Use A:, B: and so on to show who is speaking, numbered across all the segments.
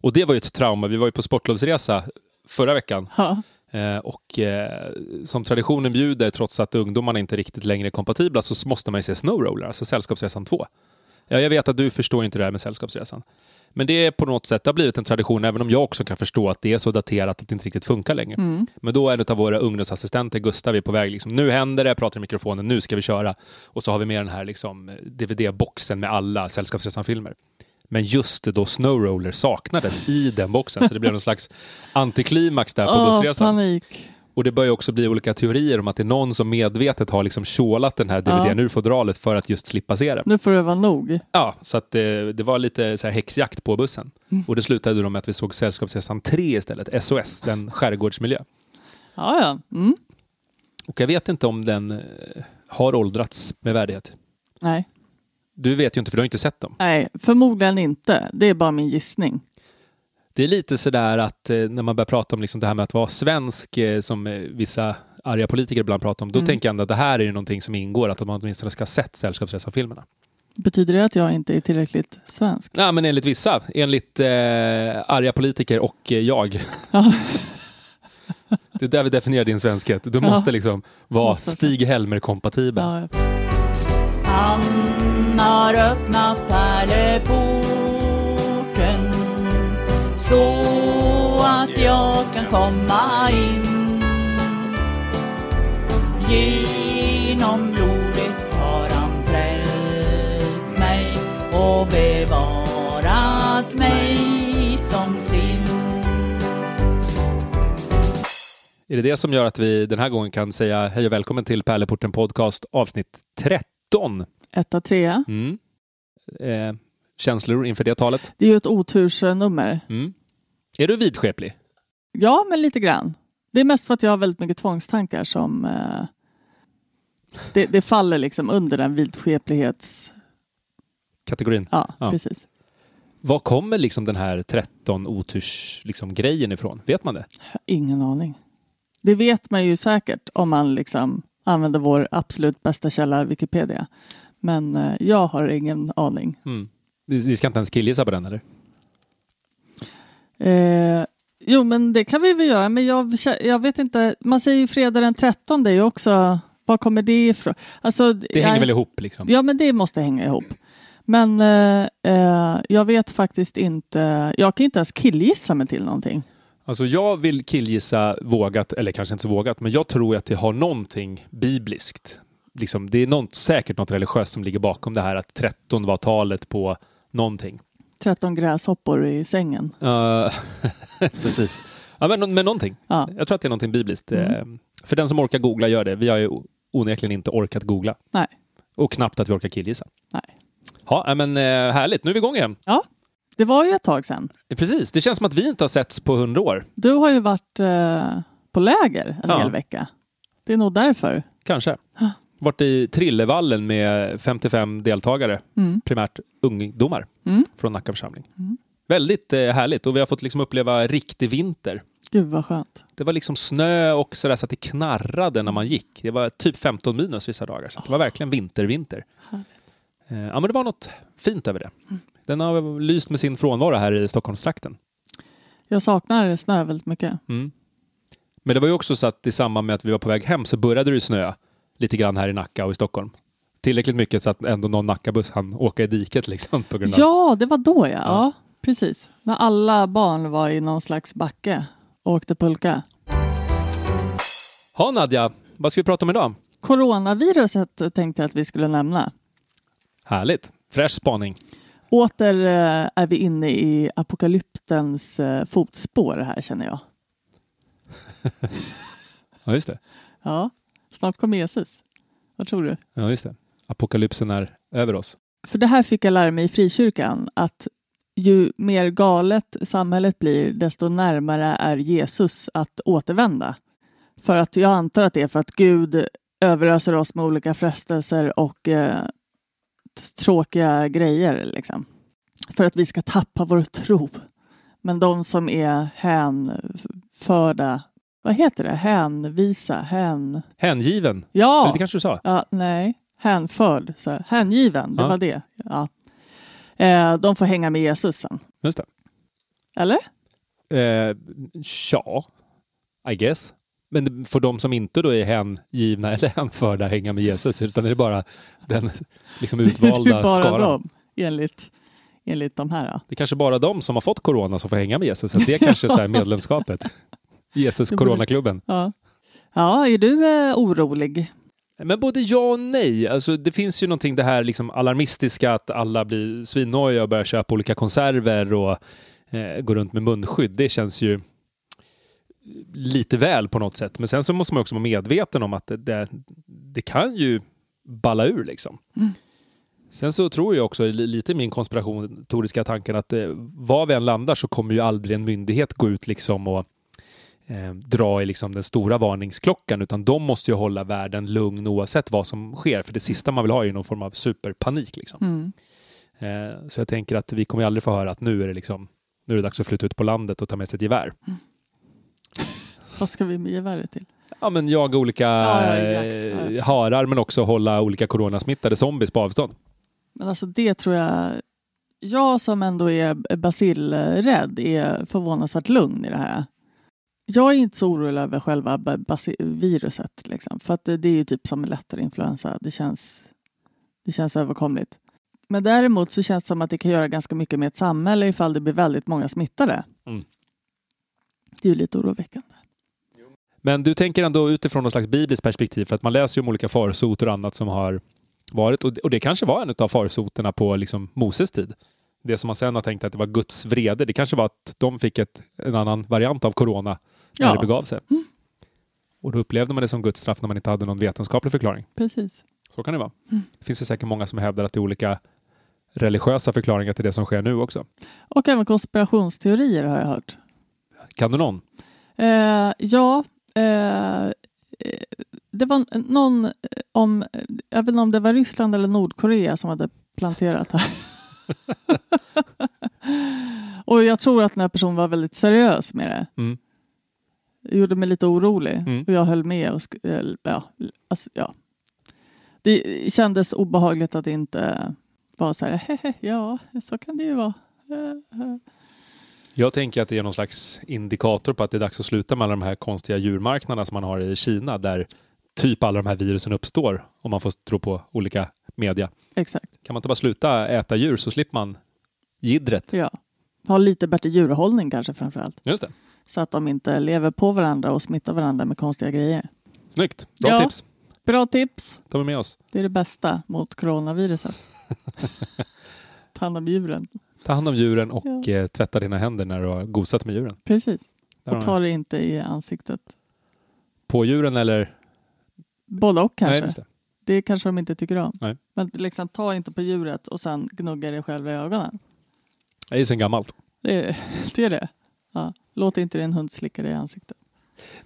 A: Och det var ju ett trauma. Vi var ju på sportlovsresa förra veckan.
B: Ja.
A: Eh, och eh, som traditionen bjuder, trots att ungdomarna inte riktigt längre är kompatibla, så måste man ju se Snowroller, alltså Sällskapsresan 2. Ja, jag vet att du förstår inte det här med Sällskapsresan. Men det är på något sätt, det har blivit en tradition, även om jag också kan förstå att det är så daterat att det inte riktigt funkar längre.
B: Mm.
A: Men då är en av våra ungdomsassistenter, Gustav, är på väg. Liksom, nu händer det, pratar i mikrofonen, nu ska vi köra. Och så har vi med den här liksom, DVD-boxen med alla Sällskapsresan-filmer. Men just det då Snowroller saknades i den boxen, så det blev någon slags antiklimax där på
B: Åh,
A: bussresan.
B: panik.
A: Och det börjar också bli olika teorier om att det är någon som medvetet har liksom tjålat den här DVDn ur fodralet för att just slippa se den.
B: Nu får det vara nog.
A: Ja, så att eh, det, det var lite så här häxjakt på bussen. Och det slutade då med att vi såg Sällskapsresan 3 istället, SOS, den skärgårdsmiljö.
B: Ja, ja. Mm.
A: Och jag vet inte om den eh, har åldrats med värdighet.
B: Nej.
A: Du vet ju inte, för du har inte sett dem.
B: Nej, förmodligen inte. Det är bara min gissning.
A: Det är lite sådär att eh, när man börjar prata om liksom det här med att vara svensk, eh, som eh, vissa arga politiker ibland pratar
B: Mm.
A: om, då tänker jag ändå att det här är ju någonting som ingår, att man åtminstone ska ha sett Sällskapsresan-filmerna.
B: Betyder det att jag inte är tillräckligt svensk?
A: Nej, men enligt vissa. Enligt eh, arga politiker och eh, jag.
B: Ja.
A: Det är där vi definierar din svenskhet. Du
B: Ja.
A: måste liksom vara
B: Måste så.
A: Stig Helmer-kompatibel.
B: Ja, jag-
C: Han har öppnat pärleporten så att jag kan komma in. Genom blodet har han frälst mig och bevarat mig som sin.
A: Är det det som gör att vi den här gången kan säga hej och välkommen till Pärleporten Podcast avsnitt 13?
B: Etta, trea.
A: Mm. Eh, känslor inför det talet?
B: Det är ju ett otursnummer.
A: Mm. Är du vidskeplig?
B: Ja, men lite grann. Det är mest för att jag har väldigt mycket tvångstankar som... Eh, det, det faller liksom under den vidskeplighets...
A: Kategorin.
B: Ja,
A: Ja.
B: precis.
A: Var kommer liksom den här 13 otursgrejen liksom, grejen ifrån? Vet man det?
B: Ingen aning. Det vet man ju säkert om man liksom använder vår absolut bästa källa Wikipedia. Men eh, jag har ingen aning.
A: Mm. Vi vi ska inte ens killgissa på den, eller?
B: Eh, jo, men det kan vi väl göra. Men jag, kä- jag vet inte. Man säger ju fredag den 13. Det är ju också... Var kommer det ifrån? Alltså,
A: Det hänger väl ihop liksom?
B: Ja, men det måste hänga ihop. Men eh, eh, jag vet faktiskt inte. Jag kan inte ens killgissa mig till någonting.
A: Alltså jag vill killgissa vågat, eller kanske inte så vågat, men jag tror att det har någonting bibliskt. Liksom, det är något, säkert något religiöst som ligger bakom det här att 13 var talet på någonting.
B: 13 gräshoppor i sängen.
A: Eh, precis. Ja, men, men någonting.
B: Ja,
A: Jag tror att det är någonting bibliskt.
B: Mm.
A: Eh, För den som orkar googla gör det. Vi har ju onekligen inte orkat googla.
B: Nej.
A: Och knappt att vi orkar killgissa.
B: Nej.
A: Ja, nej, men eh, härligt. Nu är vi igång igen.
B: det var ju ett tag sedan.
A: Precis. Det känns som att vi inte har setts på hundra år.
B: Du har ju varit eh, på läger en
A: Ja.
B: hel vecka. Det är nog därför.
A: Kanske.
B: Ja.
A: Vart i Trillevallen med 55 deltagare,
B: Mm.
A: primärt ungdomar
B: Mm.
A: från Nacka församling.
B: Mm.
A: Väldigt eh, härligt och vi har fått liksom uppleva riktig vinter.
B: Gud vad skönt.
A: Det var liksom snö och sådär så att det knarrade när man gick. Det var typ 15 minus vissa dagar, så att det var verkligen vintervinter.
B: Ah. Härligt. Mm.
A: Eh, ja, men det var något fint över det. Den har lyst med sin frånvaro här i Stockholmstrakten.
B: Jag saknar snö väldigt mycket.
A: Mm. Men det var ju också så att i samband med att vi var på väg hem så började det ju snöa lite grann här i Nacka och i Stockholm. Tillräckligt mycket så att ändå någon Nackabuss hann åka i diket liksom på grund av...
B: Ja, det var då ja. ja. precis. När alla barn var i någon slags backe och åkte pulka.
A: Ha Nadja, vad ska vi prata om idag?
B: Coronaviruset tänkte jag att vi skulle nämna.
A: Härligt, fräsch spaning.
B: Åter eh, är vi inne i apokalyptens eh, fotspår här känner jag.
A: Ja, just det.
B: Ja, snart kommer Jesus. Vad tror du?
A: Ja, just det. Apokalypsen är över oss.
B: För det här fick jag lära mig i frikyrkan att ju mer galet samhället blir desto närmare är Jesus att återvända. För att jag antar att det är för att Gud överöser oss med olika frestelser och eh, tråkiga grejer. Liksom. För att vi ska tappa vår tro. Men de som är hänförda, vad heter det, hänvisa, hän...
A: Hängiven,
B: Ja!
A: eller det kanske du sa?
B: Ja, nej, hänförd, så här. hängiven, det
A: Ja.
B: var det. Ja. Eh, de får hänga med Jesus sen.
A: Just det.
B: Eller?
A: Eh, ja, I guess. Men för de som inte då är hängivna eller hänförda hänga med Jesus, utan är det bara den liksom
B: det är
A: utvalda
B: bara
A: skaran.
B: dem, enligt, enligt de här. ja.
A: Det är kanske bara de som har fått corona som får hänga med Jesus. Så det är kanske så här medlemskapet. Jesus
B: Det borde-
A: Coronaklubben.
B: Ja. ja, är du eh, orolig?
A: Men både ja och nej. Alltså, det finns ju någonting det här liksom alarmistiska att alla blir svinnoja och börjar köpa olika konserver och eh, går runt med munskydd. Det känns ju lite väl på något sätt. Men sen så måste man också vara medveten om att det, det, det kan ju balla ur liksom.
B: Mm.
A: Sen så tror jag också, li- lite min konspiratoriska tanken, att eh, var vi än landar så kommer ju aldrig en myndighet gå ut liksom och eh, dra i liksom den stora varningsklockan, utan de måste ju hålla världen lugn oavsett vad som sker, för det sista man vill ha är ju någon form av superpanik. Liksom.
B: Mm.
A: Eh, så jag tänker att vi kommer ju aldrig få höra att nu är det liksom nu är det dags att flytta ut på landet och ta med sig ett gevär.
B: Vad ska vi med geväret till?
A: Ja, men jaga olika
B: Ja, ja, jakt. Ja, jag
A: eh,
B: förstår.
A: harar, men också hålla olika coronasmittade zombies på avstånd.
B: Men alltså det tror jag... Jag som ändå är basilrädd är förvånansvärt lugn i det här. Jag är inte så orolig över själva ba- basi- viruset. Liksom, för att det, det är ju typ som en lättare influensa. Det känns, det känns överkomligt. Men däremot så känns det som att det kan göra ganska mycket med ett samhälle ifall det blir väldigt många smittade.
A: Mm.
B: Det är ju lite oroväckande.
A: Men du tänker ändå utifrån något slags bibliskt perspektiv, för att man läser ju om olika farsoter och annat som har varit, och det, och det kanske var en av farsoterna på liksom Moses tid. Det som man sen har tänkt att det var Guds vrede, det kanske var att de fick ett, en annan variant av corona när
B: Ja.
A: det begav sig.
B: Mm.
A: Och då upplevde man det som Guds straff när man inte hade någon vetenskaplig förklaring.
B: Precis.
A: Så kan det vara.
B: Mm.
A: Det finns väl säkert många som hävdar att det är olika religiösa förklaringar till det som sker nu också.
B: Och även konspirationsteorier har jag hört.
A: Kan du någon?
B: Eh, ja, eh, eh, det var n- någon eh, om, eh, jag vet inte om det var Ryssland eller Nordkorea som hade planterat här. Och jag tror att den här personen var väldigt seriös med det.
A: Mm.
B: Det gjorde mig lite orolig
A: Mm.
B: och jag höll med. Och sk- eh, ja, alltså, ja. Det kändes obehagligt att inte vara så här, "Hehe, ja, så kan det ju vara. Eh, eh.
A: Jag tänker att det är någon slags indikator på att det är dags att sluta med alla de här konstiga djurmarknaderna som man har i Kina där typ alla de här virusen uppstår om man får tro på olika media.
B: Exakt,
A: Kan man inte bara sluta äta djur så slipper man jiddret.
B: ja. Ha lite bättre djurhållning kanske framförallt.
A: Just det.
B: så att de inte lever på varandra och smittar varandra med konstiga grejer.
A: Snyggt. Bra
B: Ja.
A: tips.
B: Bra tips!
A: Ta med oss.
B: Det är det bästa mot coronaviruset. Ta hand om djuren.
A: Ta hand om djuren och
B: Ja.
A: eh, tvätta dina händer när du har gosat med djuren.
B: Precis.
A: Där har
B: Och
A: ni
B: ta det inte i ansiktet.
A: På djuren eller?
B: Både och kanske.
A: Nej, just det.
B: det kanske de inte tycker om.
A: Nej.
B: Men liksom, ta inte på djuret och sen gnugga dig själv i ögonen.
A: det är sen gammalt.
B: Det är det. Är det. Ja. Låt inte din hund slicka dig i ansiktet.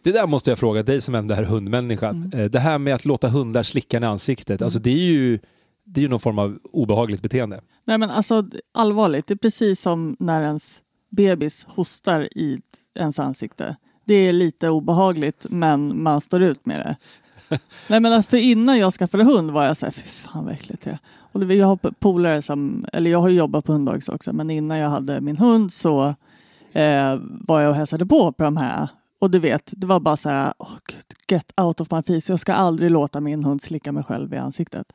A: Det där måste jag fråga dig som ändå är hundmänniskan.
B: Mm.
A: Eh, Det här med att låta hundar slicka en i ansiktet, alltså
B: Mm.
A: det är ju det är ju någon form av obehagligt beteende.
B: Nej men alltså allvarligt, det är precis som när ens bebis hostar i ens ansikte. Det är lite obehagligt men man står ut med det. Nej men alltså, för innan jag skaffade hund var jag så här, fy fan vad äckligt det är." Och det, var- jag har p- polare som, eller jag har ju jobbat på hunddagis också, men innan jag hade min hund så eh, var jag och hälsade på på de här. Och du vet, det var bara så här, "Åh, gud, get out of my face, jag ska aldrig låta min hund slicka mig själv i ansiktet.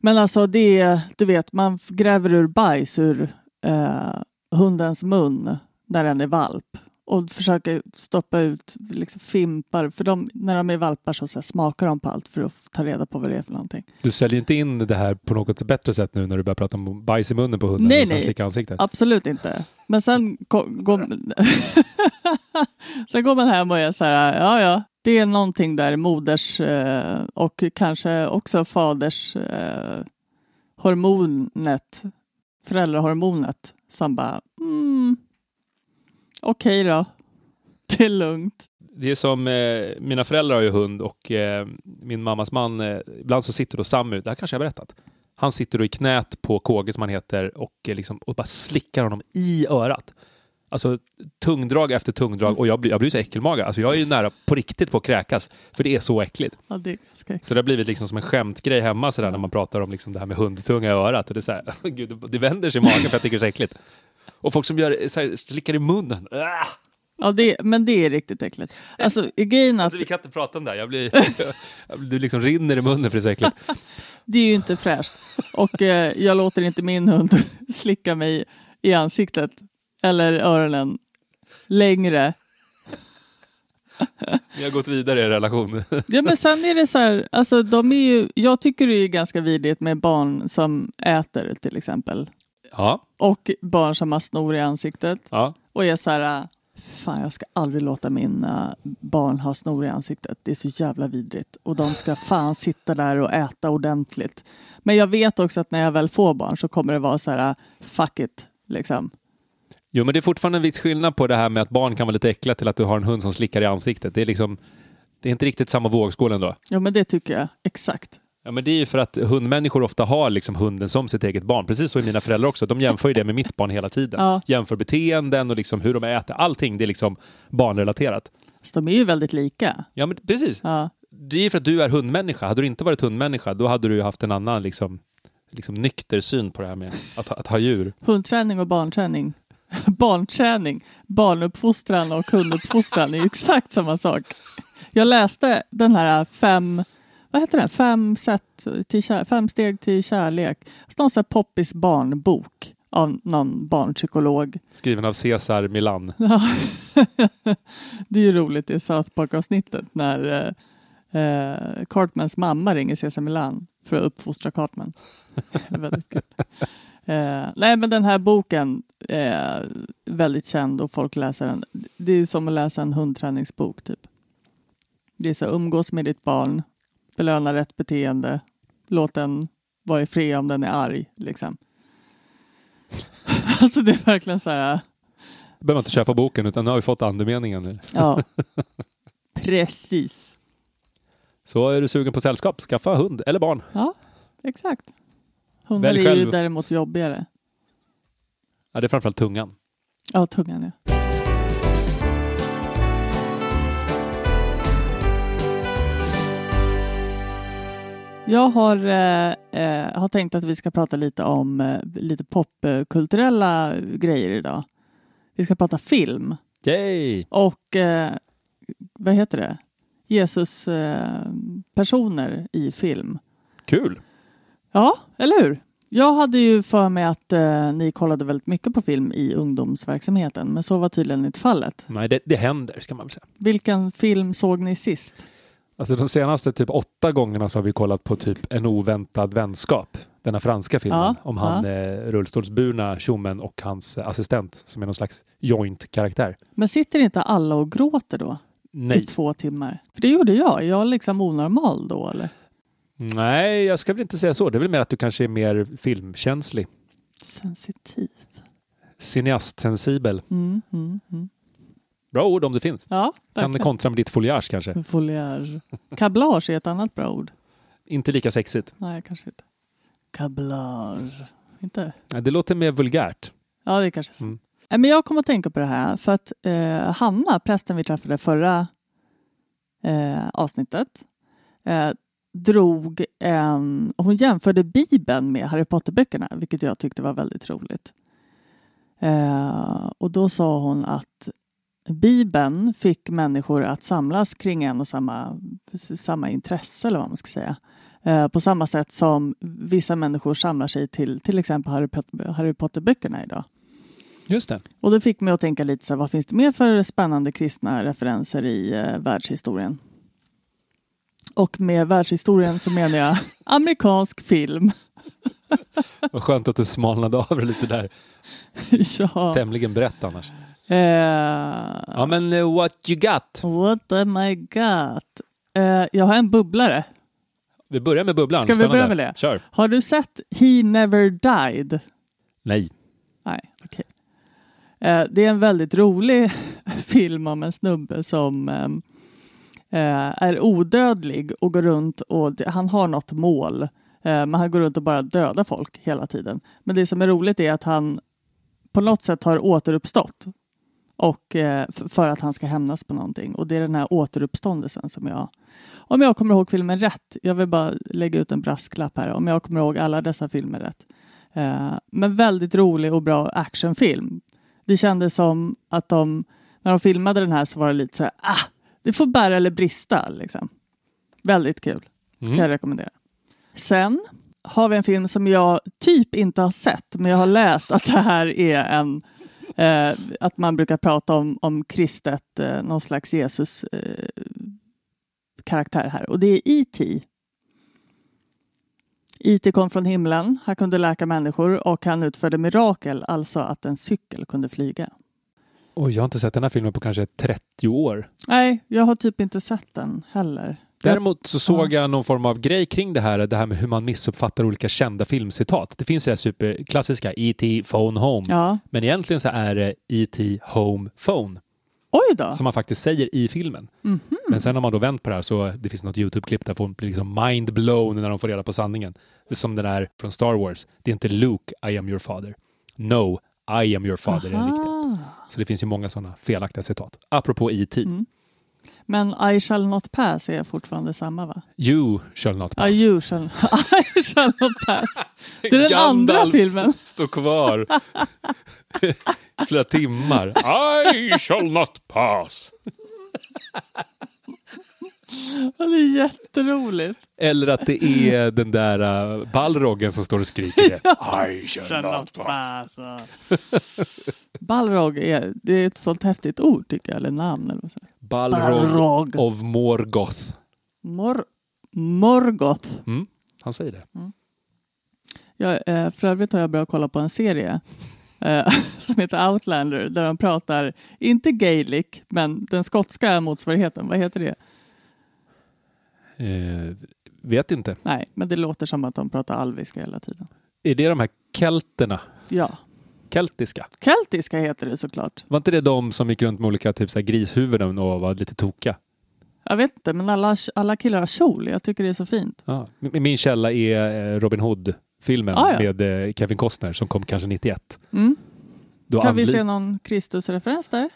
B: Men alltså det är, du vet, man f- gräver ur bajs ur eh, hundens mun när den är valp och försöker stoppa ut liksom, fimpar. För de, när de är valpar så, så här, smakar de på allt för att f- ta reda på vad det är för någonting.
A: Du säljer inte in det här på något bättre sätt nu när du börjar prata om bajs i munnen på hunden
B: Nej,
A: och sen
B: nej.
A: slicka ansiktet?
B: Absolut inte. Men sen, ko- går, sen går man hem och är så här, ja ja, det är någonting där moders eh, och kanske också faders eh, hormonet, föräldrahormonet som bara, mm, okej då, det är lugnt.
A: Det är som, eh, mina föräldrar har ju hund och eh, min mammas man, eh, ibland så sitter då Samu, det här kanske jag har berättat, han sitter då i knät på Kåge som han heter och, eh, liksom, och bara slickar honom i örat. Alltså tungdrag efter tungdrag och jag blir, jag blir så äckelmaga. Alltså jag är ju nära på riktigt på att kräkas för det är så äckligt.
B: Ja, det är ganska
A: Så det har blivit liksom som en skämtgrej hemma sådär när man pratar om liksom det här med hundtunga i örat. Och det, är så här, gud, det vänder sig i magen för jag tycker det är så äckligt. Och folk som gör, så här, slickar i munnen. Ah!
B: Ja, det, men det är riktigt äckligt. Alltså, grejen är att
A: Alltså, vi kan inte prata om det här. Jag blir, jag, blir- du liksom rinner i munnen för det är så äckligt.
B: det är ju inte fräscht. Och eh, jag låter inte min hund slicka mig i ansiktet eller öronen längre.
A: Vi har gått vidare i er relation.
B: Ja, men sen är det så här, alltså, de är ju, jag tycker det är ganska vidrigt med barn som äter till exempel.
A: Ja,
B: Och barn som har snor i ansiktet.
A: ja.
B: Och är så här, äh, fan jag ska aldrig låta mina barn ha snor i ansiktet. Det är så jävla vidrigt. Och de ska fan sitta där och äta ordentligt. Men jag vet också att när jag väl får barn så kommer det vara så här, äh, fuck it. Liksom.
A: Jo, men det är fortfarande en viss skillnad på det här med att barn kan vara lite äckliga till att du har en hund som slickar i ansiktet. Det är liksom, det är inte riktigt samma vågskål ändå.
B: Ja men det tycker jag, exakt.
A: Ja, men det är ju för att hundmänniskor ofta har liksom hunden som sitt eget barn. Precis så är mina föräldrar också. De jämför ju det med mitt barn hela tiden.
B: Ja.
A: Jämför beteenden och liksom hur de äter. Allting det är liksom barnrelaterat.
B: Så de är ju väldigt lika.
A: Ja, men precis.
B: Ja.
A: Det är ju för att du är hundmänniska. Hade du inte varit hundmänniska, då hade du ju haft en annan liksom, liksom nykter syn på det här med att, att ha djur.
B: Hundträning och barnträning. Barnträning, barnuppfostran och hunduppfostran är ju exakt samma sak. Jag läste den här fem, vad heter den? Fem, sätt till kär, fem steg till kärlek. Så Någon sån här poppis barnbok av någon barnpsykolog.
A: Skriven av Cesar Milan.
B: Det är ju roligt i South Park-avsnittet när eh, eh, Cartmans mamma ringer Cesar Milan för att uppfostra Cartman. väldigt kul. Eh, nej, men den här boken är väldigt känd och folk läser den. Det är som att läsa en hundträningsbok typ. Det är så här, umgås med ditt barn, belöna rätt beteende, låt den vara i fred om den är arg liksom. alltså det är verkligen så här
A: behöver man inte köpa boken, utan nu har vi fått andemeningen. nu.
B: Ja, precis.
A: Så är du sugen på sällskap, skaffa hund eller barn.
B: Exakt. Hundar
A: Välj
B: är ju
A: själv.
B: däremot jobbigare.
A: Ja, det är framförallt tungan.
B: Ja, tungan ja. Jag har, eh, eh, har tänkt att vi ska prata lite om eh, lite popkulturella grejer idag. Vi ska prata film
A: Yay!
B: och eh, vad heter det? Jesus-personer eh, personer i film.
A: Kul!
B: Ja, eller hur? Jag hade ju för mig att eh, ni kollade väldigt mycket på film i ungdomsverksamheten, men så var tydligen inte fallet.
A: Nej, det, det händer, ska man väl säga.
B: Vilken film såg ni sist?
A: Alltså de senaste typ åtta gångerna så har vi kollat på typ En oväntad vänskap. Den här franska filmen
B: Ja,
A: om han eh, rullstolsburna tjommen och hans eh, assistent som är någon slags joint-karaktär.
B: Men sitter inte alla och gråter då? I
A: Nej.
B: två timmar? För det gjorde jag. Är jag liksom onormal då eller?
A: Nej, jag ska väl inte säga så. Det är väl mer att du kanske är mer filmkänslig.
B: Sensitiv.
A: Cineastsensibel.
B: Mm, mm, mm.
A: Bra ord om det finns.
B: Ja,
A: Kan det
B: verkligen.
A: kontra med ditt foliage kanske?
B: Foliage. Kablage är ett annat bra ord.
A: Inte lika sexigt.
B: Nej, kanske inte. Kablage. Inte?
A: Nej, Det låter mer vulgärt.
B: Ja, det kanske är sant.
A: Mm.
B: Nej, Men jag kommer att tänka på det här för att eh, Hanna, prästen vi träffade förra eh, avsnittet, eh, drog en... Hon jämförde Bibeln med Harry Potter-böckerna, vilket jag tyckte var väldigt roligt. Eh, och då sa hon att Bibeln fick människor att samlas kring en och samma, samma intresse, eller vad man ska säga. Eh, på samma sätt som vissa människor samlar sig till till exempel Harry Pot- Harry Potter-böckerna idag.
A: Just det.
B: Och det fick mig att tänka lite så här, vad finns det mer för spännande kristna referenser i eh, världshistorien? Och med världshistorien så menar jag amerikansk film.
A: Vad skönt att du smalnade av det lite där.
B: ja.
A: Tämligen brett annars.
B: Eh,
A: Ja, men eh, what you got?
B: what am I got? Eh, jag har en bubblare.
A: Vi börjar med bubblan.
B: Ska vi
A: Spännande.
B: börja med det?
A: Kör.
B: Har du sett He Never Died?
A: Nej.
B: Nej, okej. Eh, Det är en väldigt rolig film om en snubbe som ehm, eh, är odödlig och går runt och d- han har något mål. eh, Men han går runt och bara dödar folk hela tiden. Men det som är roligt är att han på något sätt har återuppstått. Och eh, f- för att han ska hämnas på någonting. Och det är den här återuppståndelsen som jag... Om jag kommer ihåg filmen rätt, jag vill bara lägga ut en brasklapp här. Om jag kommer ihåg alla dessa filmer rätt. Eh, Men väldigt rolig och bra actionfilm. Det kändes som att de, när de filmade den här så var det lite så här, ah, det får bära eller brista. Liksom. Väldigt kul,
A: Mm.
B: kan jag rekommendera. Sen har vi en film som jag typ inte har sett, men jag har läst att det här är en eh, att man brukar prata om, om kristet, eh, någon slags Jesus eh, karaktär här. Och det är E IT. IT kom från himlen, han kunde läka människor och han utförde mirakel, alltså att en cykel kunde flyga.
A: Oj, jag har inte sett den här filmen på kanske 30 år.
B: Nej, jag har typ inte sett den heller.
A: Däremot så såg jag någon form av grej kring det här, det här med hur man missuppfattar olika kända filmcitat. Det finns det här superklassiska E.T. Phone Home,
B: Ja.
A: men egentligen så är det E.T. Home Phone
B: Oj då!
A: som man faktiskt säger i filmen.
B: Mhm.
A: Men sen har man då vänt på det här så det finns något YouTube-klipp där folk blir liksom mind-blown när de får reda på sanningen. Det är som den här från Star Wars. Det är inte Luke, I am your father. No, I am your father är den riktiga.
B: Ah.
A: Så det finns ju många sådana felaktiga citat. Apropå E IT.
B: Mm. Men I shall not pass är fortfarande samma va?
A: You shall not
B: Ja,
A: pass.
B: you shall, I shall not pass. Det är den andra filmen.
A: står kvar flera timmar. I shall not pass.
B: Ja, Det är jätteroligt.
A: Eller att det är den där uh, ballroggen som står och skriker det. I shall not pass.
B: Balrog är, det är ett sånt häftigt ord tycker jag, eller namn. Eller vad säger jag?
A: Balrog
B: Balrog.
A: of Morgoth.
B: Mor- Morgoth.
A: Mm, han säger det.
B: Jag, eh, för övrigt har jag börjat kolla på en serie eh, som heter Outlander där de pratar, inte gaelic, men den skotska motsvarigheten. Vad heter det?
A: Eh, vet inte.
B: Nej, men det låter som att de pratar alviska hela tiden.
A: Är det de här kelterna?
B: Ja,
A: Keltiska?
B: keltiska heter det såklart.
A: Var inte det de som gick runt med olika typ, så här, grishuvuden och var lite tokiga?
B: Jag vet inte, men alla, alla killar har kjol. Jag tycker det är så fint.
A: Ja. Min min källa är eh, Robin Hood-filmen
B: Ah, ja.
A: med eh, Kevin Costner som kom kanske 91.
B: Mm.
A: Då
B: Kan vi
A: anli-
B: se någon Kristusreferens där?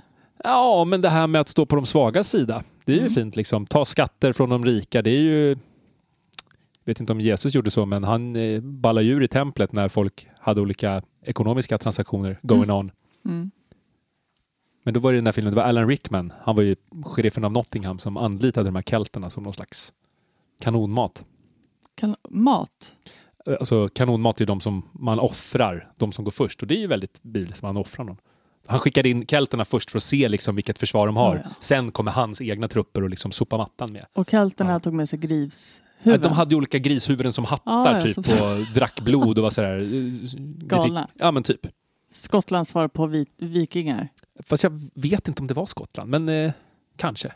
A: Ja, men det här med att stå på de svaga sida. Det är ju
B: Mm.
A: fint liksom. Ta skatter från de rika. Det är ju... Jag vet inte om Jesus gjorde så, men han eh, ballade ju ur i templet när folk hade olika ekonomiska transaktioner going
B: Mm.
A: on.
B: Mm.
A: Men då var det den här filmen, det var Alan Rickman. Han var ju sheriffen av Nottingham som anlitade de här kelterna som någon slags kanonmat.
B: Kan, mat?
A: Eh, Alltså kanonmat är ju de som man offrar, de som går först. Och det är ju väldigt bibliskt, man offrar någon. Han skickade in kelterna först för att se liksom vilket försvar de har.
B: Ja, ja.
A: Sen kommer hans egna trupper och liksom sopa mattan med.
B: Och kelterna
A: Ja.
B: tog med sig grivshuvuden.
A: Nej, De hade ju olika grishuvuden som hattar
B: Ah, ja,
A: typ
B: som-
A: och drack blod och var sådär... eh,
B: Galna.
A: lite- Ja men typ.
B: Skottlands svar på vi, vikingar.
A: Fast jag vet inte om det var Skottland, men eh, kanske.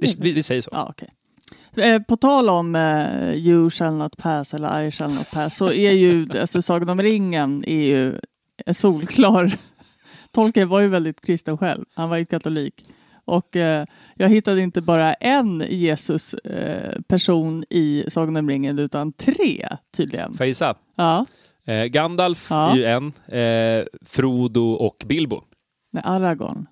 A: Vi, vi, vi säger så.
B: Ja, okej. Eh, På tal om eh, You shall not pass eller I shall not pass så är ju alltså, Sagan om ringen är ju en solklar. Tolkien var ju väldigt kristen själv. Han var ju katolik. Och eh, jag hittade inte bara en Jesus-person i Sagan om ringen utan tre tydligen.
A: Får jag gissa?
B: Ja.
A: Eh, Gandalf
B: Ja.
A: är ju en, eh, Frodo och Bilbo.
B: Nej, Aragorn.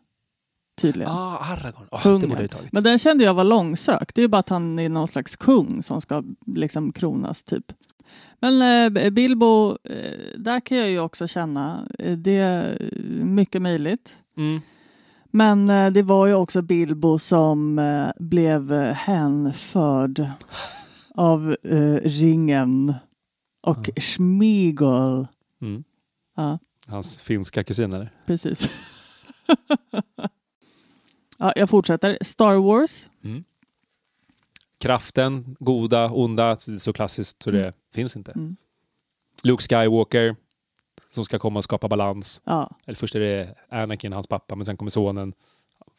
B: Tydligen.
A: Ah, Aragorn. Ah, det
B: Kungen.
A: borde jag ju tagit.
B: Men den kände jag var långsökt. Det är ju bara att han är någon slags kung som ska liksom kronas typ. Men eh, Bilbo, eh, där kan jag ju också känna, eh, det är eh, mycket möjligt.
A: Mm.
B: Men eh, det var ju också Bilbo som eh, blev eh, hänförd av eh, ringen och
A: Ja.
B: Smigol.
A: Mm.
B: Ja.
A: Hans finska kusin eller?
B: Precis. ja, jag fortsätter. Star Wars.
A: Kraften, goda, onda, så det är så klassiskt så det finns inte.
B: Mm.
A: Luke Skywalker som ska komma och skapa balans.
B: Ja,
A: Eller först är det Anakin, hans pappa, men sen kommer sonen,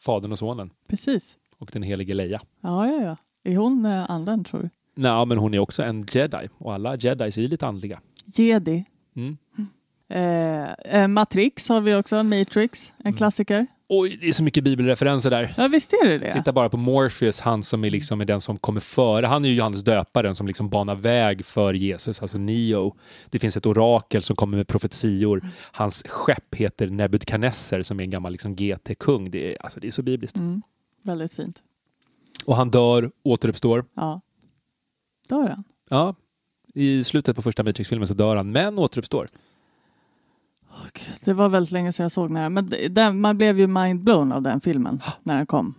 A: fadern och sonen
B: precis.
A: och den helige Leia.
B: Ja, ja, ja. Är hon eh, anden tror du?
A: Nej, men hon är också en jedi och alla jedis är ju lite andliga.
B: Jedi.
A: Mm.
B: Eh, eh, Matrix har vi också, Matrix, en
A: Mm.
B: klassiker.
A: Oj, det är så mycket bibelreferenser där.
B: Ja, visst är det det?
A: Titta bara på Morpheus, han som är, liksom är den som kommer före. Han är ju Johannes döparen som liksom banar väg för Jesus, alltså Neo. Det finns ett orakel som kommer med profetior. Hans skepp heter Nebukadnesser som är en gammal liksom, GT-kung. Det är, alltså, det är så bibliskt.
B: Mm. Väldigt fint.
A: Och han dör, återuppstår.
B: Ja. Dör han?
A: Ja, i slutet på första Matrix-filmen så dör han, men återuppstår.
B: Åh, Gud, Det var väldigt länge sedan jag såg den här, men det- den, man blev ju mindblown av den filmen
A: Ah.
B: när den kom.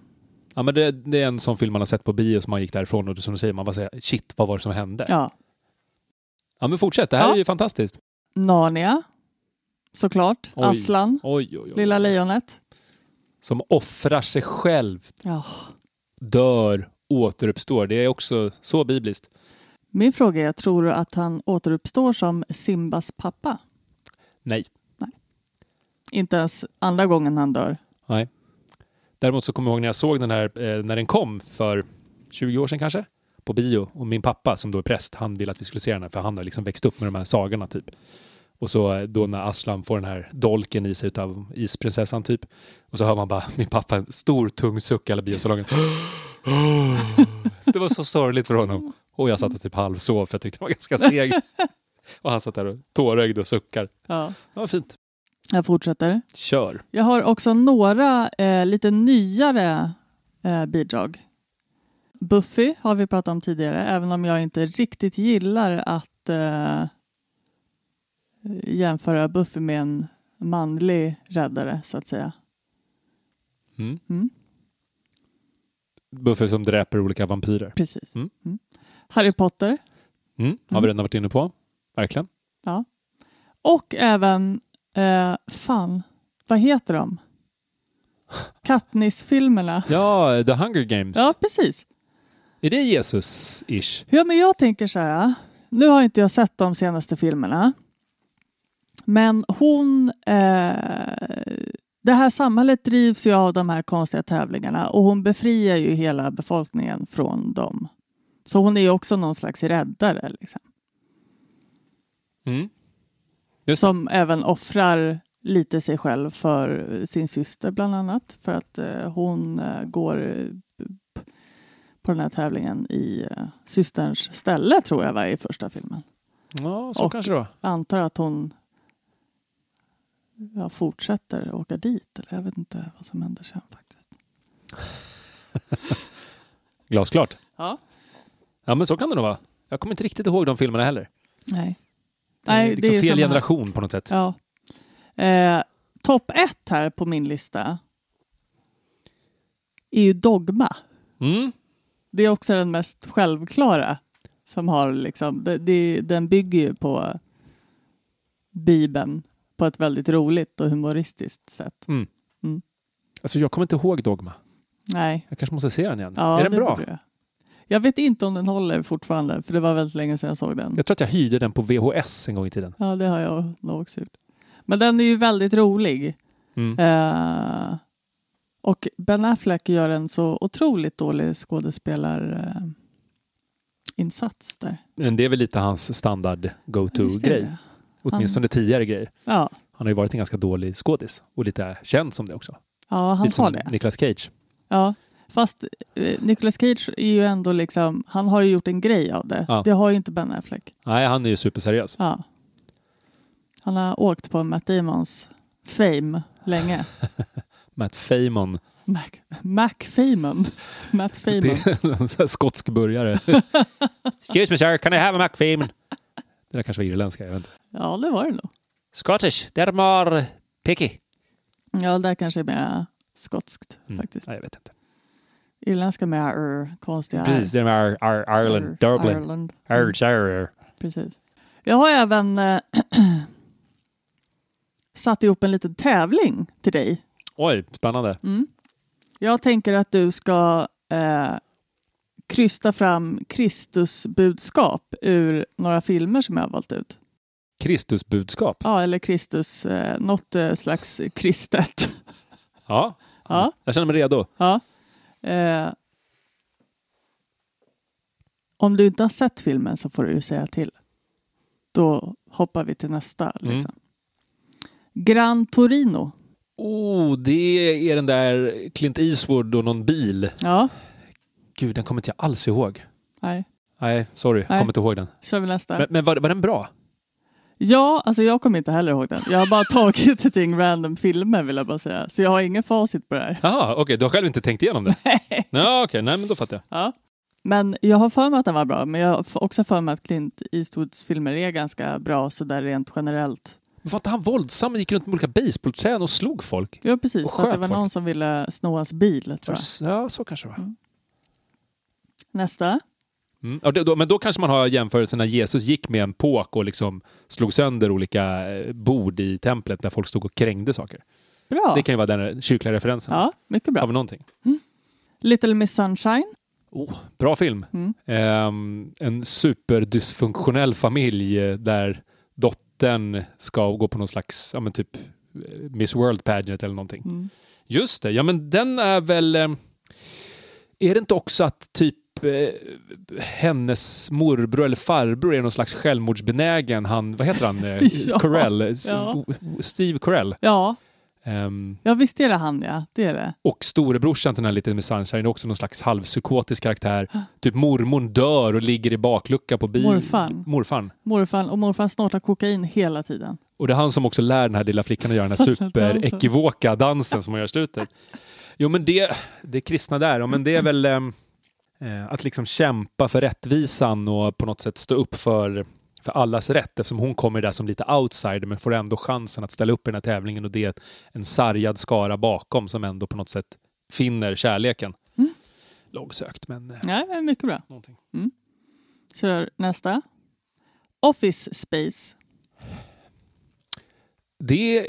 A: Ja, men det, det är en sån film man har sett på bio som man gick därifrån och som du säger, man bara säger shit, vad var det som hände? Ja,
B: Ja.
A: men fortsätt, det här
B: Ja.
A: är ju fantastiskt.
B: Narnia, såklart.
A: Oj.
B: Aslan,
A: Oj, oj, oj.
B: Lilla Lejonet.
A: Som offrar sig själv,
B: Ja.
A: dör, återuppstår. Det är också så bibliskt.
B: Min fråga är, tror du att han återuppstår som Simbas pappa?
A: Nej.
B: Inte ens andra gången han dör.
A: Nej. Däremot så kommer jag ihåg när jag såg den här, eh, när den kom för 20 år sedan kanske, på bio. Och min pappa som då är präst, han ville att vi skulle se den här för han har liksom växt upp med de här sagorna typ. Och så eh, då när Aslan får den här dolken i sig utav isprinsessan typ. Och så hör man bara min pappa en stor tung suck i alla biosalongen. Det var så sorgligt för honom. Och jag satt och typ halvsov för jag tyckte det var ganska seg. Och han satt där och tårögd och suckar.
B: Ja.
A: Det var fint.
B: Jag fortsätter.
A: Kör.
B: Jag har också några eh, lite nyare eh, bidrag. Buffy har vi pratat om tidigare, även om jag inte riktigt gillar att eh, jämföra Buffy med en manlig räddare, så att säga.
A: Mm.
B: Mm,
A: Buffy som dräper olika vampyrer.
B: precis.
A: Mm.
B: Mm. Harry Potter
A: Mm, har vi redan varit inne på. Verkligen.
B: och även, eh, fan, vad heter de? Katniss-filmerna.
A: Ja, The Hunger Games.
B: Ja, precis.
A: Är det Jesus-ish?
B: Ja, men jag tänker så här. Nu har inte jag sett de senaste filmerna. Men hon... Eh, det här samhället drivs ju av de här konstiga tävlingarna och hon befriar ju hela befolkningen från dem. Så hon är ju också någon slags räddare liksom,
A: Mm. Just det.
B: som även offrar lite sig själv för sin syster bland annat för att eh, hon eh, går eh, p- på den här tävlingen i eh, systerns ställe tror jag var i första filmen.
A: Ja, så
B: Och-
A: kanske det var.
B: antar att hon ja, fortsätter åka dit. Eller jag vet inte vad som händer sen faktiskt.
A: Glasklart.
B: Ja.
A: Ja, men så kan det nog vara. Jag kommer inte riktigt ihåg de filmerna heller.
B: Nej.
A: Det är
B: Nej,
A: liksom
B: det är
A: fel
B: samma-
A: generation på något sätt.
B: Ja. Eh, Topp ett här på min lista är ju Dogma.
A: Mm.
B: Det är också den mest självklara. Som har liksom, det, det, den bygger ju på Bibeln på ett väldigt roligt och humoristiskt sätt.
A: Alltså, jag kommer inte ihåg Dogma.
B: Nej,
A: Jag kanske måste se den igen.
B: Ja,
A: är den
B: det
A: bra?
B: borde Jag. jag vet inte om den håller fortfarande, för det var väldigt länge sedan jag såg den.
A: Jag tror att jag hyrde den på VHS en gång i tiden.
B: Ja, det har jag nog också gjort. Men den är ju väldigt rolig.
A: Mm.
B: Eh, och Ben Affleck gör en så otroligt dålig skådespelarinsats insats där.
A: Men det är väl lite hans standard
B: Visst är
A: go-to-grej.
B: det?
A: Åtminstone tidigare grejer.
B: Ja,
A: Han har ju varit en ganska dålig skådis och lite känd som det också.
B: ja han
A: lite
B: har
A: som
B: det.
A: Nicolas Cage.
B: Ja. Fast eh, Nicolas Cage är ju ändå liksom, han har ju gjort en grej av det.
A: Ja.
B: Det har ju inte Ben Affleck.
A: Nej, han är ju superseriös.
B: Ja. Han har åkt på Matt Damons fame länge.
A: Matt Feymon
B: Mac, Mac Feymon. Matt Feymon.
A: Det är en sån här skotsk burgare. Excuse me sir, can I have a McFeeman? Det där kanske var irländska, jag vet inte.
B: Ja, det var det nog.
A: Scottish, they're more picky.
B: Ja, det där kanske är mer skotskt
A: Mm.
B: faktiskt.
A: Nej, jag vet inte.
B: Irländska mer er, konstiga R.
A: Precis, they're more Ir- Ireland,
B: R-
A: Dublin,
B: Ireland. Mm,
A: Ayrshire.
B: Precis. Jag har även eh, satt ihop en liten tävling till dig.
A: Oj, spännande.
B: Mm. Jag tänker att du ska eh, krysta fram Kristusbudskap ur några filmer som jag har valt ut.
A: Kristusbudskap.
B: Ja, eller Kristus, eh, något eh, slags kristet.
A: Ja.
B: Ja.
A: jag känner mig redo.
B: ja. Eh, om du inte har sett filmen så får du ju säga till. Då hoppar vi till nästa.
A: Mm.
B: Liksom. Gran Torino.
A: Oh, det är den där Clint Eastwood och någon bil.
B: Ja,
A: Gud, den kommer inte jag alls ihåg.
B: nej,
A: Nej, sorry. Jag
B: Nej.
A: kommer inte ihåg den.
B: kör vi nästa.
A: Men, men var, var den bra?
B: Ja, alltså jag kommer inte heller ihåg den. Jag har bara tagit ett gäng random filmer vill jag bara säga. Så jag har ingen facit på det här.
A: Jaha, okej. du har själv inte tänkt igenom det? Nej. Ja, okej. Nej, men då fattar jag.
B: Ja. Men jag har för mig att den var bra, men jag har f- också för mig att Clint Eastwoods filmer är ganska bra sådär rent generellt.
A: Var inte han våldsam och gick runt med olika basebollträn och slog folk?
B: Ja, precis.
A: Och
B: För att det
A: sköt
B: var
A: folk.
B: någon som ville sno hans bil, tror jag.
A: Ja, så kanske det var.
B: Nästa.
A: Mm. Ja, det, då, men då kanske man har jämförelsen när Jesus gick med en påk och liksom slog sönder olika eh, bord i templet där folk stod och krängde saker.
B: Bra.
A: Det kan ju vara den kyrkliga referensen.
B: Ja, mycket
A: Har
B: bra.
A: vi någonting?
B: Little Miss Sunshine.
A: Oh, bra film.
B: Mm.
A: Ehm, en superdysfunktionell familj eh, där dottern ska gå på någon slags, ja men typ eh, Miss World pageant eller någonting.
B: Mm.
A: Just det, ja men den är väl... eh, Är det inte också att typ eh, hennes morbror eller farbror är någon slags självmordsbenägen, han, vad heter han, Eh,
B: Ja.
A: Corell, S-
B: Ja.
A: Steve Corell.
B: Ja,
A: Ehm,
B: ja, visst är det han ja. Det är det.
A: och storebrorsan till den här Little Miss Sunshine är också någon slags halvpsykotisk karaktär. Typ mormon dör och ligger i baklucka på bilen.
B: Morfarn.
A: Morfarn.
B: Morfar och morfar snortar kokain hela tiden.
A: Och det är han som också lär den här lilla flickan att göra den här superekivoka dansen som hon gör i slutet. Jo men det, det är kristna där, Ja, men det är väl ehm, eh, att liksom kämpa för rättvisan och på något sätt stå upp för, för allas rätt eftersom hon kommer där som lite outsider men får ändå chansen att ställa upp i den här tävlingen och det är en sargad skara bakom som ändå på något sätt finner kärleken.
B: Mm.
A: Långsökt men eh,
B: Nej, men mycket bra.
A: någonting.
B: Kör nästa. Office Space.
A: Det är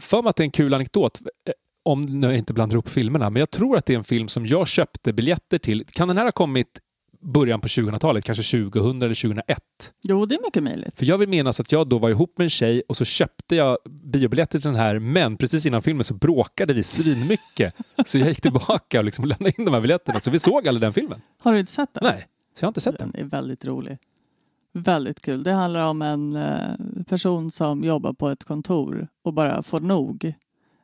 A: för mig att det är en kul anekdot. eh, Om nu jag inte blandar ihop filmerna, men jag tror att det är en film som jag köpte biljetter till. Kan den här ha kommit början på 2000-talet, kanske 2000 eller 2001?
B: Jo, det är mycket möjligt.
A: För jag vill minnas att jag då var ihop med en tjej och så köpte jag biobiljetter till den här, men precis innan filmen så bråkade vi svinmycket. Så jag gick tillbaka och liksom lämnade in de här biljetterna, så vi såg aldrig den filmen.
B: Har du inte sett den?
A: Nej, så jag har inte sett den.
B: Den är väldigt rolig. Väldigt kul. Det handlar om en eh, person som jobbar på ett kontor och bara får nog.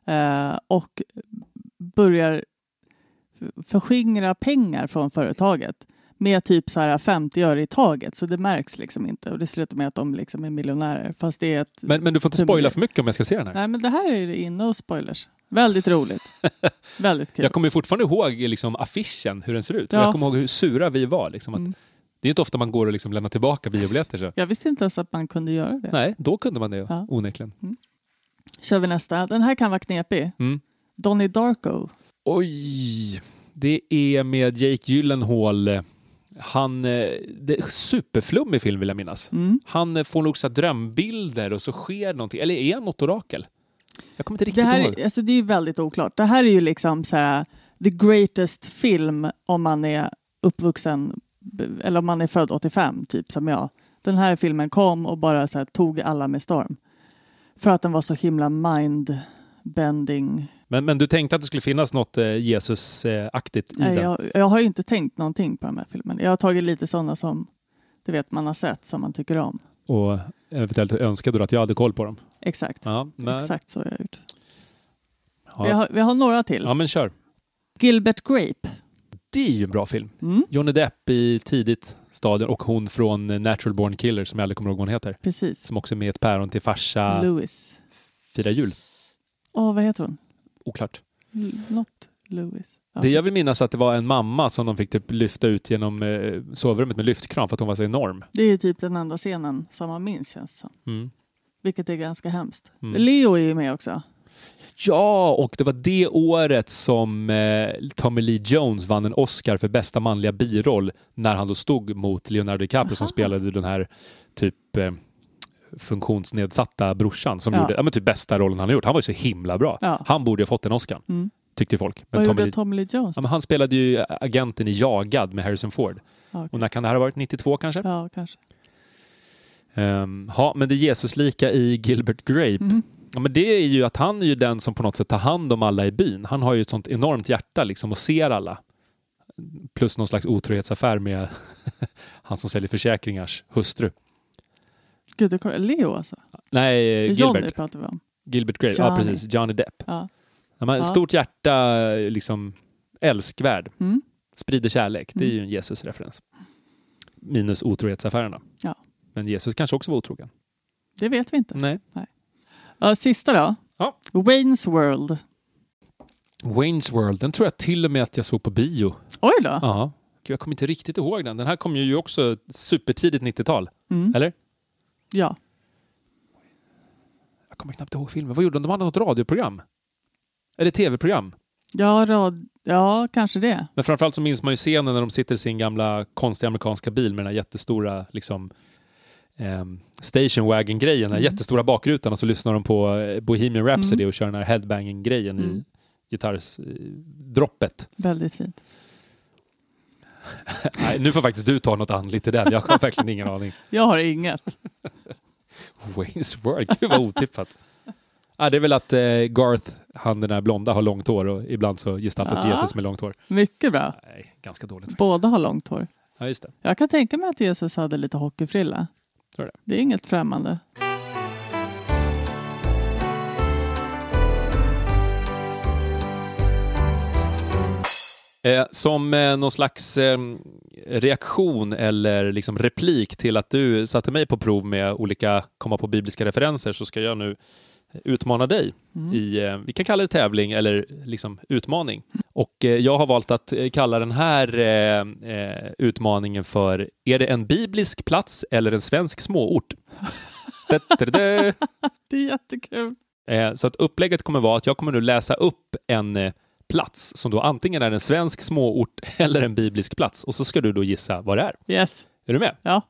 B: Eh, och börjar f- förskingra pengar från företaget med typ så här 50 öre i taget så det märks liksom inte. Och det slutar med att de liksom är miljonärer. Fast det är ett...
A: Men, men du får inte spoila för mycket om jag ska se den här.
B: Nej men det här är ju inne och spoilers. Väldigt roligt. väldigt kul.
A: Jag kommer ju fortfarande ihåg liksom affischen, hur den ser ut. Och
B: Ja.
A: Jag kommer ihåg hur sura vi var. Liksom, att
B: Mm.
A: Det är inte ofta man går och liksom lämnar tillbaka biobiljetter. Så.
B: Jag visste inte ens att man kunde göra det.
A: Nej, då kunde man det
B: Ja.
A: onekligen.
B: Kör vi nästa. Den här kan vara knepig.
A: Mm.
B: Donnie Darko.
A: Oj! Det är med Jake Gyllenhaal. eh, Han, eh, det är superflummig film vill jag minnas.
B: Mm.
A: Han eh, får nog så här drömbilder och så sker någonting. Eller är han något orakel? Jag kommer inte
B: Det,
A: riktigt
B: här,
A: ihåg.
B: är- alltså det är ju väldigt oklart. Det här är ju liksom så här, the greatest film om man är uppvuxen eller om man är född 85, typ som jag. Den här filmen kom och bara så här, tog alla med storm. För att den var så himla mind-bending.
A: Men, men du tänkte att det skulle finnas något eh, Jesus-aktigt i
B: Nej,
A: den?
B: Jag, jag har ju inte tänkt någonting på de här filmerna. Jag har tagit lite sådana som du vet man har sett, som man tycker om.
A: Och eventuellt önskade du att jag hade koll på dem?
B: Exakt.
A: Ja, men,
B: Exakt så har jag gjort. Vi,
A: Ja.
B: har, vi har några till.
A: ja, men kör.
B: Gilbert Grape.
A: Det är ju en bra film.
B: Mm.
A: Johnny Depp i tidigt stadion och hon från eh, Natural Born Killer som jag aldrig kommer ihåg vad hon heter.
B: Precis.
A: Som också är med i ett päron till farsa
B: Lewis.
A: firar jul.
B: Åh, vad heter hon?
A: Oklart.
B: L- Något Lewis. Ja.
A: Det jag vill minnas att det var en mamma som de fick typ lyfta ut genom eh, sovrummet med lyftkran för att hon var så enorm.
B: det är ju typ den enda scenen som man minns känns som.
A: Mm.
B: Vilket är ganska hemskt.
A: Mm.
B: Leo är ju med också.
A: Ja, och det var det året som eh, Tommy Lee Jones vann en Oscar för bästa manliga biroll när han då stod mot Leonardo DiCaprio som
B: Aha.
A: spelade den här typ eh, funktionsnedsatta brorsan som
B: Ja.
A: gjorde ja, men typ bästa rollen han har gjort. Han var ju så himla bra.
B: Ja.
A: Han borde ju ha fått den Oscar,
B: Mm.
A: tyckte folk. Men
B: Vad
A: Tommy
B: gjorde
A: Lee...
B: Tommy Lee Jones?
A: ja, men han spelade ju eh, agenten i Jagad med Harrison Ford.
B: Ja, okej.
A: Och när kan det här ha varit? 92 kanske?
B: ja kanske.
A: Ehm, ja, men det Jesuslika i Gilbert Grape.
B: Mhm.
A: Ja, men det är ju att han är ju den som på något sätt tar hand om alla i byn. Han har ju ett sånt enormt hjärta liksom och ser alla. Plus någon slags otrohetsaffär med han som säljer försäkringars hustru.
B: Gud, det kom... Leo alltså.
A: Nej,
B: Johnny
A: Gilbert.
B: pratar vi om.
A: Gilbert Grape. Ja,
B: Johnny.
A: precis. Johnny Depp.
B: Ja.
A: Ja, men
B: Ja.
A: Stort hjärta, liksom älskvärd.
B: Mm.
A: Sprider kärlek. Det är
B: Mm.
A: ju en Jesus-referens. Minus otrohetsaffärerna.
B: Ja.
A: Men Jesus kanske också var otrogen.
B: Det vet vi inte.
A: Nej.
B: Ja, sista då.
A: Ja.
B: Wayne's World.
A: Wayne's World, den tror jag till och med att jag såg på bio.
B: Oj då!
A: Ja. Gud, jag kommer inte riktigt ihåg den. Den här kom ju också supertidigt 90-tal.
B: Mm.
A: Eller?
B: Ja.
A: Jag kommer knappt ihåg filmen. Vad gjorde de? De hade något radioprogram. Eller tv-program.
B: Ja, rad... ja, kanske det.
A: Men framförallt så minns man ju scenen när de sitter i sin gamla konstiga amerikanska bil med den här jättestora liksom, ehm, station wagon-grejen, den här
B: Mm.
A: jättestora bakrutan och så lyssnar de på eh, Bohemian Rhapsody och kör den här headbanging-grejen i
B: Mm.
A: gitarrsdroppet.
B: Väldigt fint.
A: Nej, nu får faktiskt du ta något andligt i den. Jag har verkligen ingen aning.
B: Jag har inget.
A: Wayne's World, gud vad otippat. Ja, det är väl att eh, Garth, han den där blonda, har långt hår och ibland så gestaltas
B: Ja.
A: Jesus med långt hår.
B: Mycket bra.
A: Nej, ganska dåligt faktiskt.
B: Båda har långt hår.
A: Ja, just det.
B: Jag kan tänka mig att Jesus hade lite hockeyfrilla.
A: Tror du det?
B: är inget främmande.
A: Eh, som eh, någon slags eh, reaktion eller liksom replik till att du satte mig på prov med olika komma på bibliska referenser så ska jag nu utmana dig
B: Mm.
A: i, eh, vi kan kalla det tävling eller liksom utmaning. Och eh, jag har valt att eh, kalla den här eh, eh, utmaningen för Är det en biblisk plats eller en svensk småort? Da-da-da-da.
B: Det är jättekul.
A: Eh, Så att upplägget kommer vara att jag kommer nu läsa upp en eh, plats som då antingen är en svensk småort eller en biblisk plats och så ska du då gissa vad det är.
B: Yes.
A: Är du med?
B: Ja.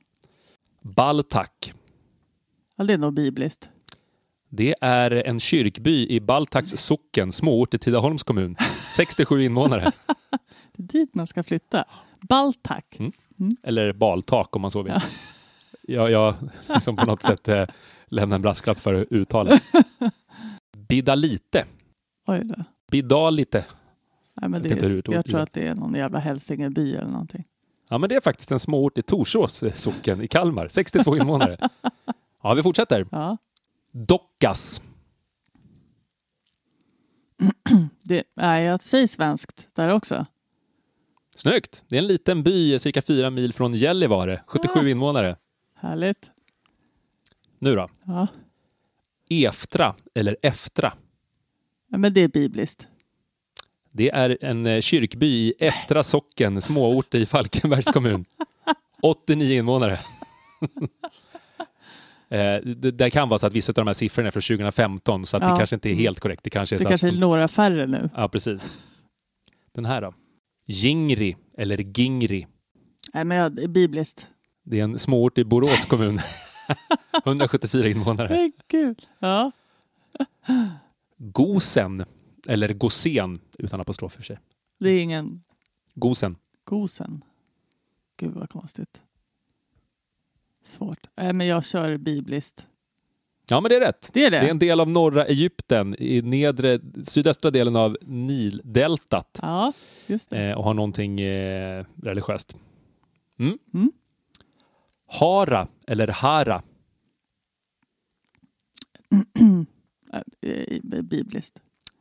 A: Baltak.
B: ja, det är nog bibliskt.
A: Det är en kyrkby i Baltaks socken, småort i Tidaholms kommun. 67 invånare,
B: Det är dit man ska flytta. Baltak.
A: Mm. eller Baltak om man så vill. Jag, jag som på något sätt eh, lämnar en brasklapp för uttalet. Bidalite.
B: Oj då.
A: Bidalite.
B: Nej, men
A: Jag
B: det
A: tänkte hur
B: är,
A: det
B: jag tror
A: lät.
B: att det är någon jävla hälsingeby eller någonting.
A: Ja, men det är faktiskt en småort i Torsås eh, socken i Kalmar. 62 invånare. Ja, vi fortsätter.
B: Ja.
A: Dockas.
B: Det, nej, jag säger svenskt där också.
A: Snyggt! Det är en liten by eh, cirka fyra mil från Gällivare. 77 invånare.
B: Härligt.
A: Nu då?
B: Ja.
A: Eftra, eller Eftra.
B: Ja, men det är bibliskt.
A: Det är en eh, kyrkby i Eftra socken, småort i Falkenbergs kommun. 89 invånare. Eh, det, det kan vara så att vissa av de här siffrorna är från 2015 så att det
B: Ja.
A: kanske inte är helt korrekt. Det kanske är
B: Det
A: så
B: kanske
A: att,
B: är några färre nu.
A: Ja, precis. Den här då? Gingri, eller Gingri.
B: Nej, men jag, det är bibliskt.
A: Det är en småort i Borås kommun. 174 invånare.
B: Men gud. Ja.
A: Gosen, eller Gosen, utan apostrof i och för sig.
B: Det är ingen
A: Gosen.
B: Gosen. Gud vad konstigt. Svårt. Nej, men jag kör bibliskt.
A: Ja, men det är rätt.
B: Det är det?
A: Det är en del av norra Egypten, i nedre, sydöstra delen av Nildeltat
B: Ja, just det.
A: eh, och har någonting eh, religiöst. Mm.
B: Mm.
A: Hara, eller Hara.
B: Eh, eh, bibliskt.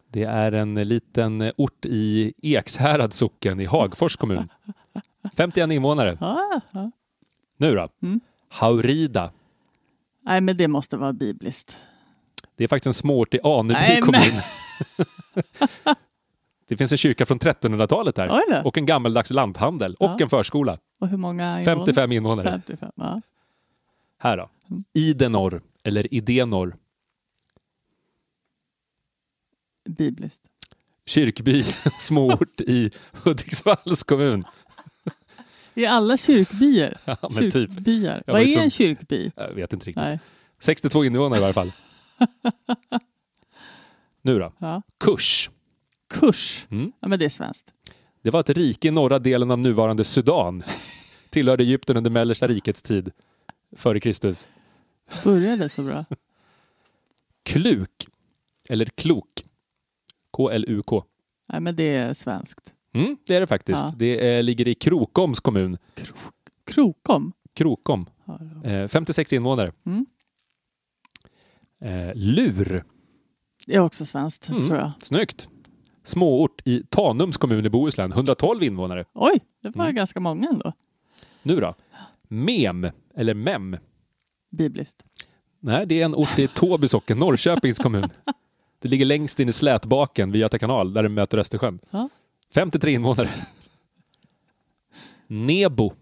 A: Det är en liten eh, ort i Ekshärad socken i Hagfors kommun. 51 invånare.
B: Ja, ja.
A: Nu då?
B: Ah, Mm.
A: Haurida.
B: Nej, men det måste vara bibliskt.
A: Det är faktiskt en småort i Aneby
B: Nej, men-
A: kommun. det finns en kyrka från 1300-talet här.
B: Oj då.
A: Och en gammeldags lanthandel och
B: Ja.
A: en förskola.
B: Och hur många? invånare?
A: 55 invånare.
B: 55, ja.
A: Här då.
B: Mm.
A: Idenor, eller Idenor.
B: Bibliskt.
A: Kyrkby, småort i Hudiksvalls kommun.
B: I alla kyrkbyar.
A: Ja, men typ.
B: Kyrkbyar.
A: Jag
B: Vad
A: var
B: är
A: liksom-
B: en kyrkby?
A: Jag vet inte riktigt.
B: Nej.
A: 62 invånare i varje fall. Nu då.
B: Ja.
A: Kurs.
B: Kurs.
A: Mm.
B: Ja, men det är svenskt.
A: Det var ett rike i norra delen av nuvarande Sudan. Tillhörde Egypten under mellersta rikets tid. Före Kristus.
B: Började så bra.
A: Kluk. Eller klok. K-L-U-K.
B: Nej, men det är svenskt.
A: Mm, det är det faktiskt.
B: Ja.
A: Det eh, ligger i Krokoms kommun.
B: Krokom.
A: Krokom.
B: Ja, då.
A: Eh, 56 invånare.
B: Mm.
A: Eh, Lur.
B: Det är också svenskt,
A: Mm.
B: tror jag.
A: Snyggt. Småort i Tanums kommun i Bohuslän. 112 invånare.
B: Oj, det var
A: Mm.
B: ganska många ändå.
A: Nu då? Mem, eller Mem.
B: Bibliskt.
A: Nej, det är en ort i Toby socken, Norrköpings kommun. Det ligger längst in i slätbaken vid Göta kanal där det möter Östersjön.
B: Ja.
A: 53 invånare. Nebo.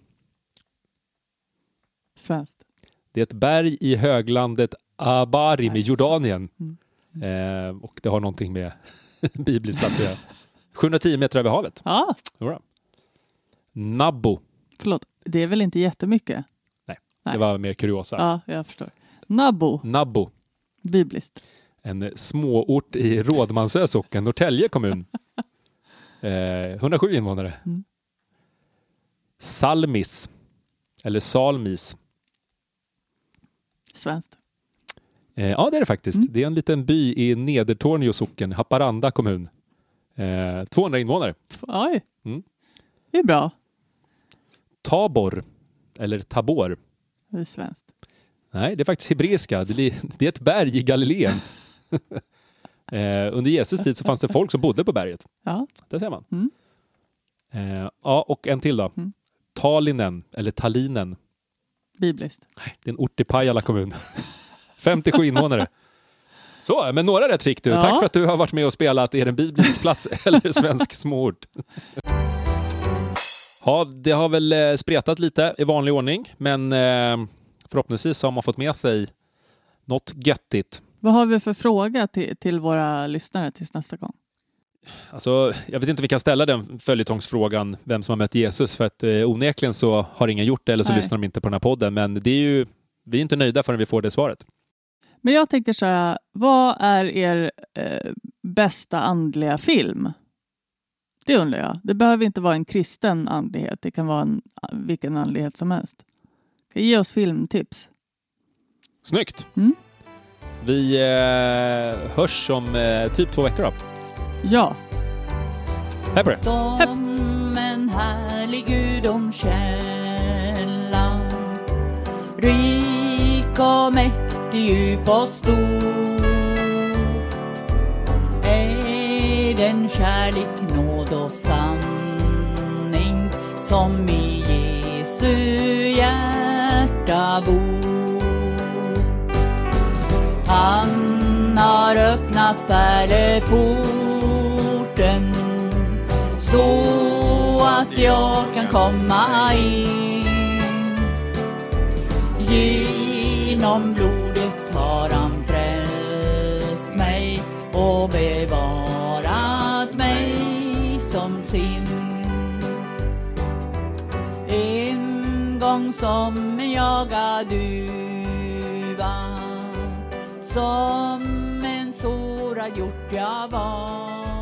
B: Svenskt.
A: Det är ett berg i höglandet Abarim i
B: Nej.
A: Jordanien.
B: Mm.
A: Eh, och det har någonting med biblisk plats att göra. 710 meter över havet.
B: Ja,
A: Jodå. Nabbo.
B: förlåt. Det är väl inte jättemycket?
A: Det
B: Nej.
A: var mer kuriosa.
B: Ja, jag förstår. Nabbo,
A: Nabbo.
B: bibliskt.
A: En eh, småort i Rådmansö socken, Norrtälje kommun. Eh, 107 invånare.
B: Mm.
A: Salmis. Eller Salmis.
B: Svenskt.
A: Eh, ja, det är det faktiskt.
B: Mm.
A: Det är en liten by i Nedertorneå socken, Haparanda kommun. Eh, 200 invånare.
B: Tf- Oj.
A: Mm.
B: Det är bra.
A: Tabor. Eller Tabor.
B: Det är svenskt.
A: Nej, det är faktiskt hebreiska. Det li- det är ett berg i Galileen. eh, under Jesus tid så fanns det folk som bodde på berget.
B: Ja.
A: Där ser man.
B: Mm.
A: Eh, ja, och en till då.
B: Mm.
A: Talinen, eller Talinen.
B: Bibliskt.
A: Det är en ort i Pajala kommun. 57 invånare. Så, men några rätt fick du.
B: Ja.
A: Tack för att du har varit med och spelat. Är det en biblisk plats eller svensk småort? Ja, det har väl eh, spretat lite i vanlig ordning, men eh, förhoppningsvis har man fått med sig något göttigt.
B: Vad har vi för fråga till, till våra lyssnare tills nästa gång?
A: Alltså, jag vet inte om vi kan ställa den följetongsfrågan, vem som har mött Jesus, för att eh, onekligen så har ingen gjort det eller så
B: Nej.
A: lyssnar de inte på den här podden. Men det är ju, vi är inte nöjda förrän vi får det svaret.
B: Men jag tänker så här, vad är er eh, bästa andliga film? Det undrar jag. Det behöver inte vara en kristen andlighet. Det kan vara en, vilken andlighet som helst. Kan Ge oss filmtips.
A: Snyggt!
B: Mm.
A: Vi eh, hörs om eh, typ två veckor då.
B: Ja,
A: Hej på det!
C: Som en härlig gudomskälla Rik och mäktig, djup och stor Är den kärlek, nåd och sanning Som i Jesu hjärta bor han har öppnat pärleporten så att jag kan komma in. Genom blodet har han frälst mig och bevarat mig som sin. En gång som en jagad duva som en sårad hjort jag var